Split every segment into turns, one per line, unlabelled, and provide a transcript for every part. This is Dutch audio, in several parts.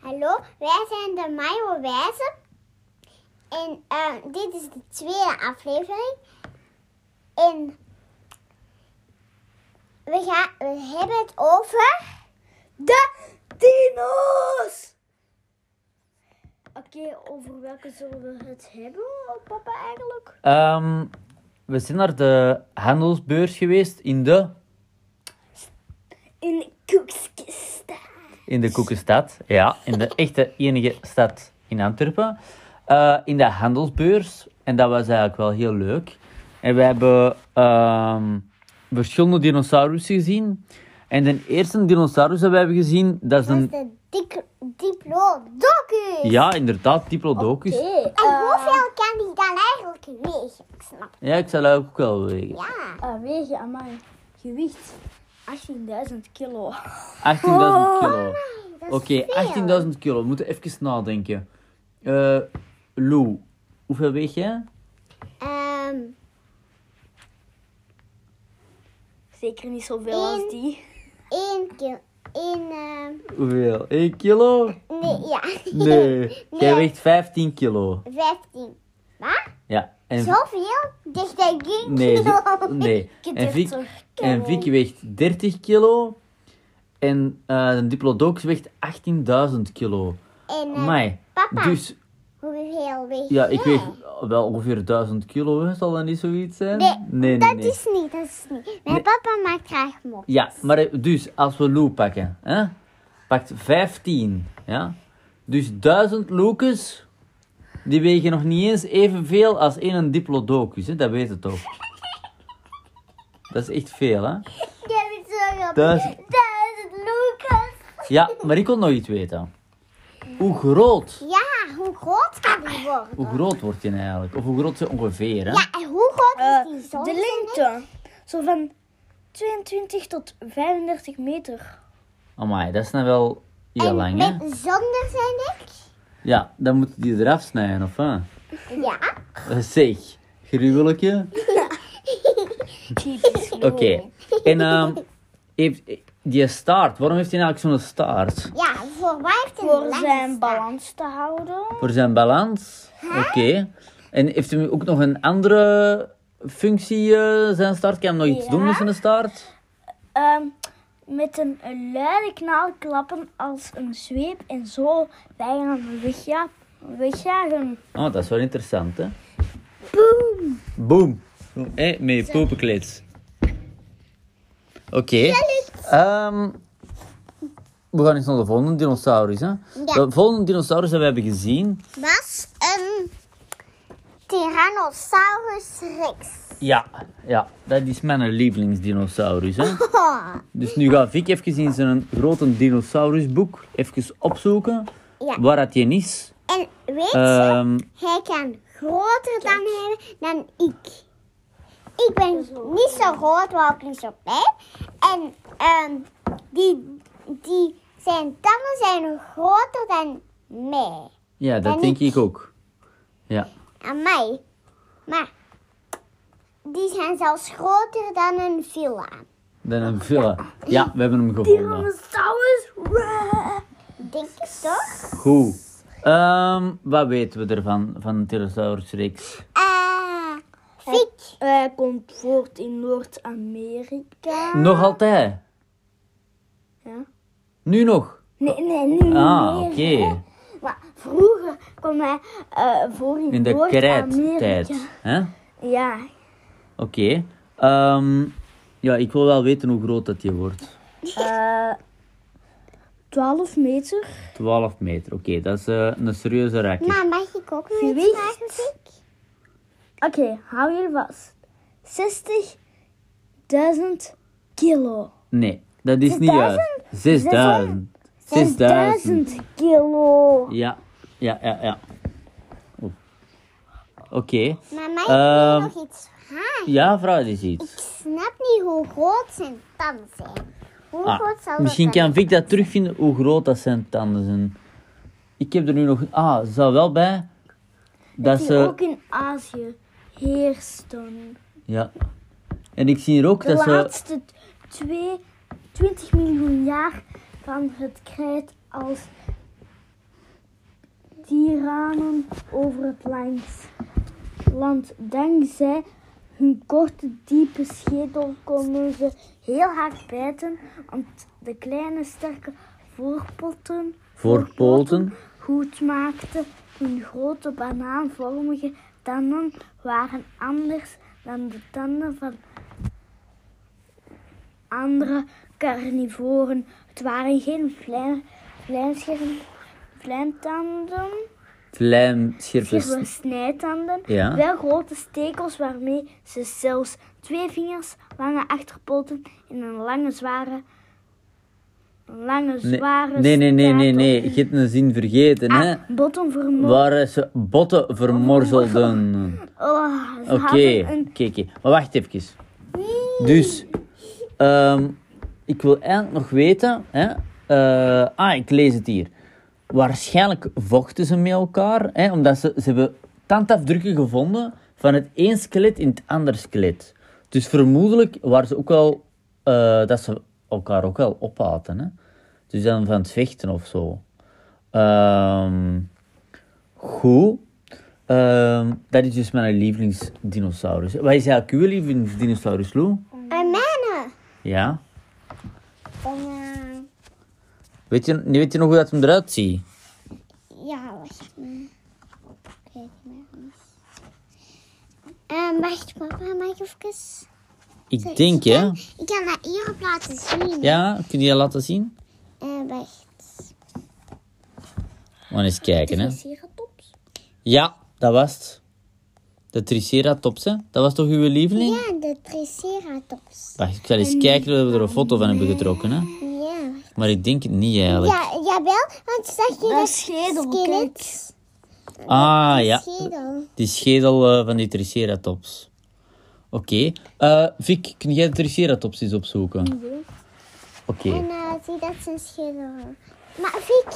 Hallo, wij zijn de Mayo Wijzen. En eh, dit is de tweede aflevering. En we, gaan, we hebben het over de dino's.
Oké, over welke zullen we het hebben, papa, eigenlijk?
Ehm, we zijn naar de handelsbeurs geweest in de,
In koekskist.
in de Koekenstad. Ja, in de echte enige stad in Antwerpen. Eh, in de handelsbeurs. En dat was eigenlijk wel heel leuk. En we hebben ehm, verschillende dinosaurussen gezien. En de eerste dinosaurus dat we hebben gezien, dat is
Dat is
een...
de dik- Diplodocus.
Ja, inderdaad, Diplodocus.
Oké,
En
eh,
hoeveel kan die dan eigenlijk wegen? Ik snap het.
Ja, ik zal eigenlijk ook wel wegen.
Ja.
eh, wegen aan mijn gewicht 18.000 kilo.
18.000 kilo.
dat is
Oké,
veel.
18.000 kilo. We moeten even nadenken. Eh Lou, hoeveel weeg jij?
Ehm,
Zeker niet zoveel als die.
één kilo. Eén, ehm,
Hoeveel? 1 kilo?
nee, ja.
Nee. Jij
Nee.
weegt 15 kilo.
15. Wat?
Ja. En
Zoveel? Dus dat ging
Nee.
kilo.
ze- nee. En Vic,
30 kilo.
en Vic weegt 30 kilo. En eh een Diplodocus weegt 18.000 kilo.
En eh,
Amai.
papa,
Dus
hoeveel weeg
ja, ik
jij?
weeg wel ongeveer 1000 kilo. hè. Zal dat niet zoiets zijn?
Nee,
nee,
Dat
nee.
is niet, dat is niet. Mijn
Nee.
papa maakt graag mop.
Ja, maar eh, dus als we Lou pakken, hè? pakt 15, ja? Dus 1000 Lucas, die wegen nog niet eens evenveel als één Diplodocus, hè? dat weet het ook. Dat is echt veel, hè?
Ik heb het zo op.
Duizend.
Duizend Lucas.
Ja, maar ik wil nog iets weten. Hoe groot,
Ja, hoe groot kan die worden?
hoe groot wordt die eigenlijk? Of hoe groot ze ongeveer, hè?
Ja, en hoe groot
Eh,
is die zon?
de lengte. Zo van 22 tot 35 meter.
Amai, dat is nou wel heel
en
lang, hè?
met zonder zijn ik?
Ja, dan moeten die eraf snijden, of hè?
Ja.
Eh, Zeg, gruwelijke.
Typisch.
Oké. En ehm, heeft, die staart, waarom heeft hij nou eigenlijk zo'n staart?
Ja, voor waar heeft hij een
Voor
lange
zijn
staart?
balans te houden.
Voor zijn balans? Oké. En heeft hij ook nog een andere functie, eh, zijn staart? Kan hij nog iets
Ja.
doen met zijn staart?
Ehm, met een luide knaal klappen als een zweep en zo vijanden wegja wegjagen.
Oh, dat is wel interessant, hè? Boom! Boom! Hé, met poepenklets. Oké. Ehm, we gaan eens naar de volgende dinosaurus, hè? De volgende dinosaurus dat we hebben gezien...
Was een Tyrannosaurus Rex.
Ja, ja, dat is mijn lievelingsdinosaurus, hè?
Oh,
Dus nu gaat Vic even in zijn grote dinosaurusboek even opzoeken
Ja.
waar dat je is.
En weet je,
Ehm,
hij kan groter dan hebben dan ik. Ik ben niet zo groot, maar ook niet zo klein. En ehm, die, die, zijn tanden zijn groter dan mij,
ja,
En
dat denk ik ook. Ja,
aan mij. Maar die zijn zelfs groter dan een villa.
dan een villa. Ja, we hebben hem gevonden.
Dinosaurus Rex.
Denk ik toch?
Goed. Ehm, wat weten we ervan, van de Tyrannosaurus Rex?
Ah, Fik.
Hij komt voort in Noord-Amerika.
Nog altijd?
Ja.
Nu nog?
Nee, nee, nu
Ah,
niet
oké.
meer. Maar vroeger kwam hij eh, voor in,
In de krijttijd.
Noord-Amerika.
hè?
Ja,
Oké. Ehm, ja, ik wil wel weten hoe groot dat je wordt.
eh 12 meter.
12 meter, oké, dat is eh, een serieuze raket.
Maar mag ik ook nog iets
Gewicht.
vragen, Fik?
Oké, hou je vast. 60.000 kilo.
Nee, dat is niet juist. 6000. 6000.
6000 kilo.
Ja, ja, ja, ja. Oeh. Oké.
Maar mag ik
Ehm,
nog iets vragen?
Ja, vrouw, dit is
Ik
iets.
snap niet hoe groot zijn tanden zijn. Hoe groot zal
Ah,
dat
misschien
zijn?
kan Vic dat terugvinden hoe groot dat zijn tanden zijn. Ik heb er nu nog. Ah, er staat wel bij. Dat
Die
ze.
ook in Azië heersten.
Ja. En ik zie hier ook
De
dat ze.
laatste twee, 20 miljoen jaar van het krijt als tiranen over het lands- land. Dankzij hun korte, diepe schedel konden ze heel hard bijten, want de kleine, sterke voorpotten,
Voorpoten.
goed maakten. Hun grote banaanvormige tanden waren anders dan de tanden van andere carnivoren. Het waren geen vlijn- vlijnscherm- vlijntanden,
Vlijmscherpe.
scherpe snijtanden,
Ja.
wel grote stekels waarmee ze zelfs twee vingers, lange achterpoten en een lange zware, een lange
Nee,
zware Ah,
nee, nee, nee, nee, nee.
staart
Je hebt een zin vergeten, hè?
aan botten vermoord.
Waar ze botten vermorzelden.
Oh, ze
Oké,
hadden een
oké, oké. Maar wacht even. Dus, ehm, ik wil eigenlijk nog weten... Hè? eh, ah, ik lees het hier. Waarschijnlijk vochten ze met elkaar, hè? omdat ze, ze hebben tandafdrukken gevonden van het één skelet in het andere skelet. Dus vermoedelijk waren ze ook wel... eh, dat ze elkaar ook wel ophaten, hè. Dus dan van het vechten of zo. Ehm, goed. Ehm, dat is dus mijn lievelingsdinosaurus. Wat is eigenlijk uw lievelingsdinosaurus, Lou?
Een mijne. eh,
Ja.
Banaan.
Weet je, weet je nog hoe dat hem eruit ziet?
Ja, wacht maar. Ik weet het niet meer. Ehm, wacht, papa, mag ik even...
Ik denk, hè?
Ik kan dat hier op laten zien.
Ja, kun je dat laten zien?
Eh, wacht.
Maar eens kijken, hè?
triceratops.
Ja, dat was het. De Triceratops, hè? Dat was toch uw lieveling?
Ja, de Triceratops.
Wacht, ik zal eens kijken of we er een foto van hebben getrokken, hè?
Ja, wacht.
Maar ik denk het niet eigenlijk.
Ja, jawel, want zag je dat
schedel,
skelet?
Ah, ja.
Schedel.
Die schedel eh, van die Triceratops. Oké. Eh Vic, kun jij de Triceratops eens opzoeken? Oké.
En eh, zie dat zijn schedel. Maar Vic,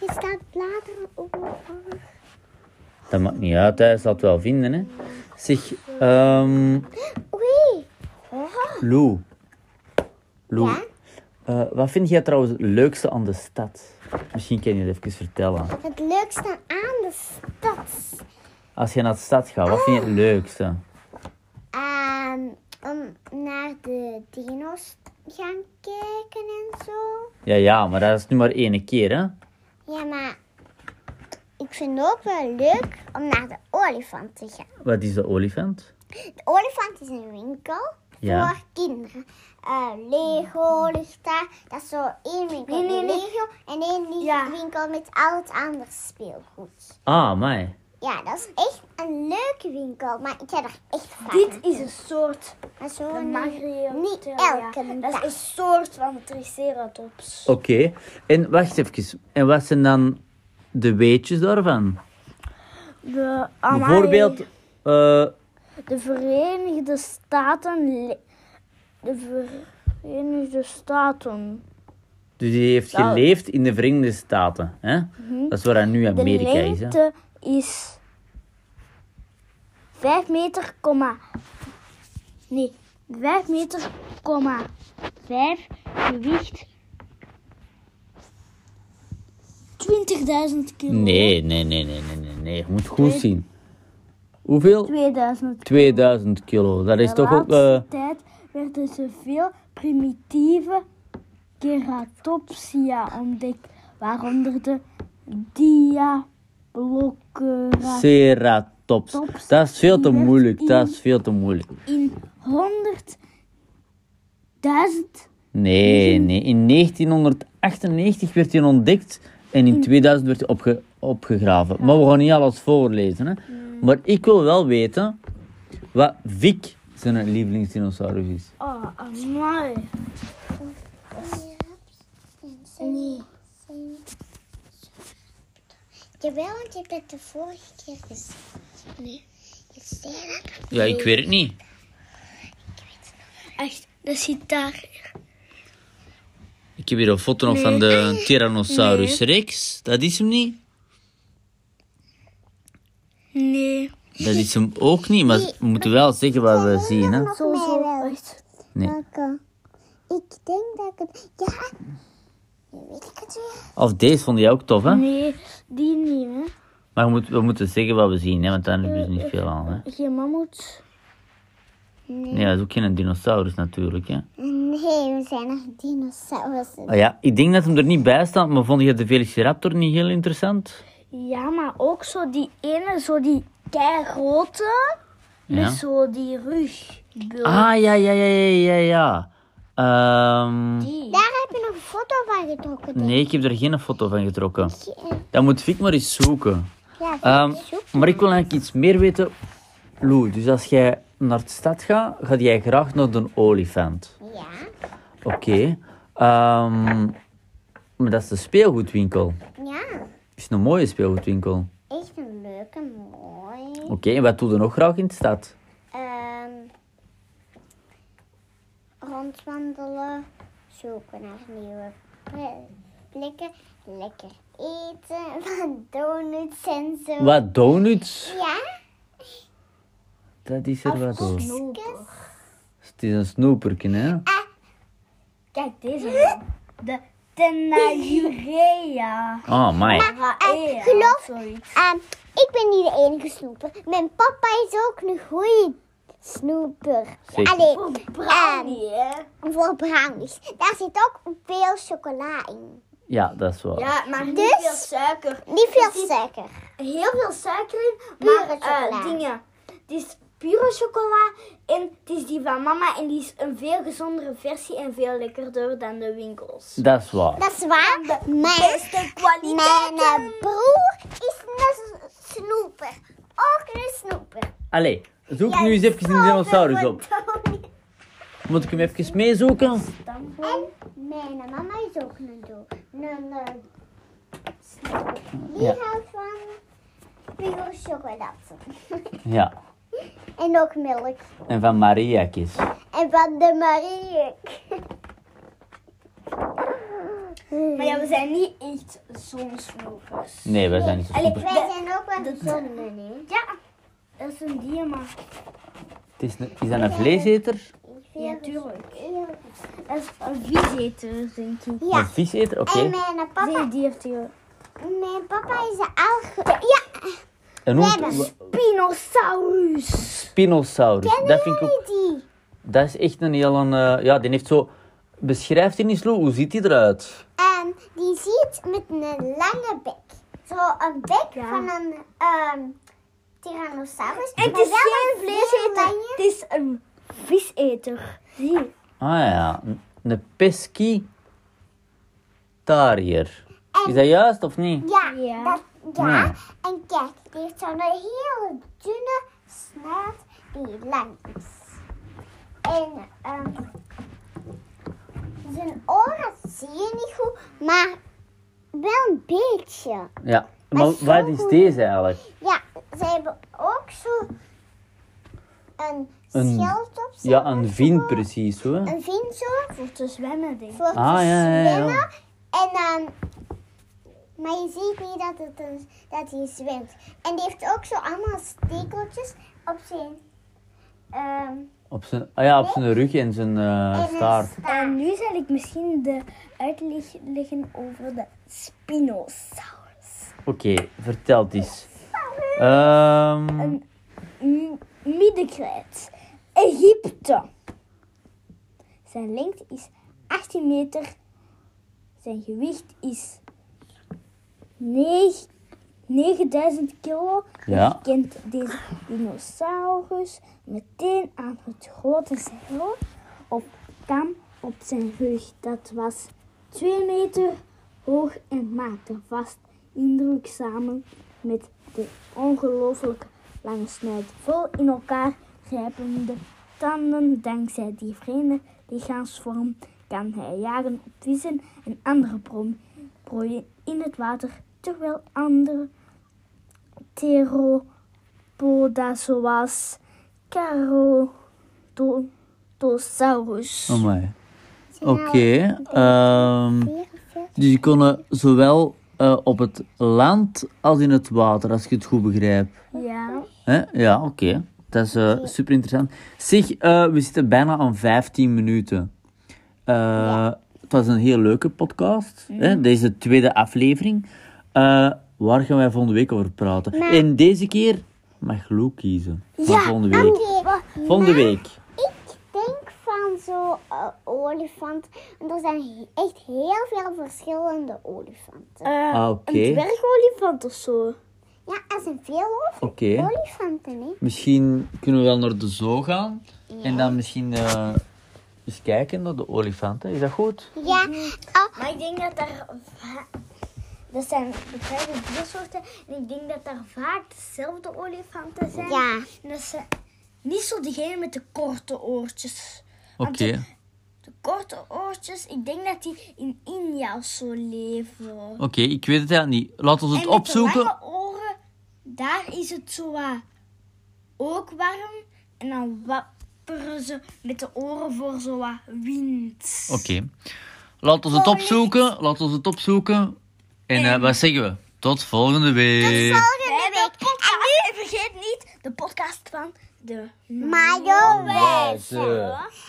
je staat bladeren op.
Dat maakt niet uit, hij zal het wel vinden, hè. Zeg, ehm
Oei,
Lou. Lou,
Ja?
eh, wat vind jij trouwens het leukste aan de stad? Misschien kan je het even vertellen.
het leukste aan de stad.
Als je naar de stad gaat, wat vind je het leukste?
Ehm, om naar de dino's te gaan kijken en zo.
Ja, ja, maar dat is nu maar één keer, hè.
Ja, maar ik vind het ook wel leuk om naar de olifant te gaan.
Wat is de olifant?
De olifant is een winkel
Ja.
voor kinderen. Eh, Lego ligt daar. Dat is zo één winkel
Nee, nee,
met
nee.
Lego en één li-
Ja.
winkel met al het andere speelgoed.
Ah, mij.
Ja, dat is echt een leuke winkel, maar ik heb er echt vaak
Dit
naar-
is een soort
maar zo
Mario.
niet, niet elke
Dat is
dag.
een soort van triceratops.
Oké. En wacht even. En wat zijn dan de weetjes daarvan?
De, amai,
Bijvoorbeeld... eh,
De Verenigde Staten. le- De Verenigde Staten.
dus die heeft
Nou.
geleefd in de Verenigde Staten, hè. Dat is waar hij nu
Mhm. De
Amerika is, hè.
lengte is 5 meter, komma, nee, 5 meter, komma, 5 gewicht 20.000 kilo.
Nee, nee, nee, nee, nee, nee, nee. Je moet goed zien. Hoeveel?
2000
2000 kilo. Dat is
De
toch ook... eh,
laatste tijd werden ze veel primitieve keratopsia ontdekt, waaronder de
eh,
diabloceratus.
ceratops.
Tops.
Dat is veel te
Die werd
moeilijk.
in-
Dat is veel te moeilijk.
In 100.000
Nee, nee. In 1998 werd hij ontdekt en in 2000 werd hij opge- opgegraven. Maar we gaan niet alles voorlezen. Hè? Maar ik wil wel weten wat Vic zijn lievelingsdinosaurus is.
Oh, amai.
Nee. Jawel, want je hebt het de vorige keer gezien. Nee. Je zei dat.
Ja, ik weet het niet.
Echt, dat zit daar.
Ik heb hier een foto nog van de Tyrannosaurus rex. Dat is hem niet.
Nee.
Dat is hem ook niet, maar we moeten wel zeggen wat we zien. Hè?
Zo,
Mij wel.
zo. Echt.
Nee.
Welke? Ik denk dat ik het. Ja! Nu weet ik het weer.
Of deze vond jij ook tof, hè?
Nee, die niet.
Maar we, moeten- we moeten zeggen wat we zien, hè, want daar hebben ze niet veel aan. Hè.
Geen mammoet.
Nee, dat is ook geen dinosaurus natuurlijk. Hè.
Nee, we zijn nog dinosaurussen.
Ah ja, ik denk dat hem er niet bij staat, maar vond je de Velociraptor niet heel interessant?
Ja, maar ook zo die ene, zo die keigrote.
Ja.
Met zo die rug.
Ah, ja, ja, ja, ja, ja, ja. Ehm,
Die.
Daar heb je nog een foto van getrokken. denk
nee, ik heb er geen foto van getrokken.
ik. Eh,
Dat moet Vic maar eens zoeken.
Ja, vind
Ehm,
ik zoek.
maar ik wil eigenlijk iets meer weten. Lou, dus als jij naar de stad gaat, ga jij graag naar de olifant.
Ja,
Oké. Ehm, maar dat is de speelgoedwinkel.
ja.
is een mooie speelgoedwinkel.
Echt een leuke, mooi.
Oké, en wat doe je nog graag in de stad?
Ehm, rondwandelen, zoeken naar nieuwe ple- plekken, lekker eten van donuts en zo.
Wat donuts?
Ja,
Dat is er wat hoor.
snoepjes.
Het is een snoeperke, hè?
Kijk, deze. wel. De Tenajurea.
Oh, my.
Raea,
eh, geloof-
zoiets.
Ehm, ik ben niet de enige snoeper. Mijn papa is ook een goede snoeper.
Zeker.
Alleen
Brownie, hè?
voor brownies. Daar zit ook veel chocola in.
Ja, dat is waar.
Ja, maar niet
Dus-
veel suiker.
Niet veel suiker.
Heel veel suiker in,
Pure
maar eh,
chocola.
dingen. Het is pure chocola en het is die van mama en die is een veel gezondere versie en veel lekkerder dan de winkels.
Dat is waar.
Dat is waar. Maar
Beste kwaliteit.
mijn eh, broer is een s- snoeper. Ook een snoeper. oh,
Allee, zoek nu eens even een dinosaurus op. Moet ik hem even meezoeken?
En mijn mama is ook een doel. Een, eh, snoeper. Die
Ja.
houdt van pure chocolade.
Ja.
en ook melk.
En van Maria kies.
En van de Marie.
Maar ja, we zijn niet echt zonsvlopers.
Nee, wij zijn niet zo
Allee,
snoeper.
Wij zijn ook wel
dat-
gezonden, hè?
Ja, dat is een dier, maar
Het is, een- is dat een vleeseter?
Ja, tuurlijk. dat is een viezeter, denk ik.
Ja.
Een viseter? Oké.
En eh, mijn papa,
Zeediertje.
mijn papa is een alge... Ja,
En
hebben
hoe...
Spinosaurus.
Spinosaurus.
kennen
Dat vind ik ook...
jullie die?
Dat is echt een heel... Een, eh, ja, die heeft zo... Beschrijf die eens, Lou. Hoe ziet die eruit?
Ehm, die ziet met een lange bek. Zo een bek
Ja.
van een ehm tyrannosaurus.
En het
maar
is
wel
geen
een
vleeseter,
lange-
het is een viseter. Zie.
Ah ja, een- een pescitariër. Is dat juist of niet?
Ja,
Ja.
Dat, ja.
Ja.
en kijk, die heeft zo'n hele dunne snaar die lang is. En ehm, zijn oren zie je niet goed, maar wel een beetje.
Ja. Maar
zo
wat is
goed.
deze eigenlijk?
Ja, ze hebben ook zo een,
Een-
schild op zich.
Ja, een vin precies hoor.
Een vin zo,
Voor te zwemmen, denk ik.
voor
Ah,
te
ja, ja, ja.
zwemmen. En dan... Maar je ziet niet dat, het een, dat hij zwemt. En die heeft ook zo allemaal stekeltjes op zijn... ehm
Op zijn, ah ja, op zijn rug en zijn
en
eh
een
staart.
En nu zal ik misschien de uitleg leggen over de Spinosaurus.
Oké, vertel het eens. Ehm
Een m- middenkrijt. Egypte. Zijn lengte is 18 meter. Zijn gewicht is 9, 9000 kilo.
Ja.
Je kent deze dinosaurus meteen aan het grote zeil op kam op zijn rug. Dat was 2 meter hoog en maakte vast indruk samen met de ongelooflijk lange snuit vol in elkaar grijpende tanden. Dankzij die vreemde lichaamsvorm kan hij jagen op vissen en andere pro- prooien in het water, terwijl andere theropoda zoals Carotosaurus.
oh my. Oké. ehm dus je kon eh, zowel eh, op het land als in het water, als ik het goed begrijp.
Ja.
Hè? Ja, oké. Dat is eh, super interessant. Zeg, eh, we zitten bijna aan 15 minuten. Eh, Het was een heel leuke podcast. Hè? Deze tweede aflevering. Eh, Waar gaan wij volgende week over praten?
Maar-
En deze keer mag Lou kiezen. Voor volgende week.
Oké,
Volgende
maar
week.
Ik denk van zo'n eh, olifant. Want er zijn he- echt heel veel verschillende olifanten.
Eh,
Ah, oké.
Een dwergolifant of zo.
Ja, er zijn veel olif-
Oké.
olifanten, hè?
Misschien kunnen we wel naar de zoo gaan. En dan misschien eh, eens kijken naar de olifanten. Is dat goed?
Ja, oh,
Maar ik denk dat daar... va- Dat zijn verschillende diersoorten. En ik denk dat daar vaak dezelfde olifanten zijn.
ja.
En dat zijn niet zo degene met de korte oortjes.
Oké.
Want de- De korte oortjes, ik denk dat die in India of zo leven.
Oké, ik weet het eigenlijk niet. Laten we het
en
opzoeken.
Met de lange oren, daar is het zo wat ook warm. En dan wapperen ze met de oren voor zo wat wind.
Oké. Laten we het opzoeken. Laten we het opzoeken. En eh, wat zeggen we? Tot volgende week.
Volgende
Bij de
week.
podcast. En vergeet niet de podcast van de Oh,
Mayo
Wijze.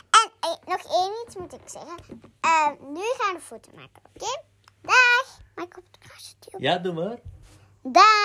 En eh, nog één iets moet ik zeggen. Eh, nu gaan we foto maken, oké? Dag. Maak op het kastje.
Ja, doe maar.
Dag.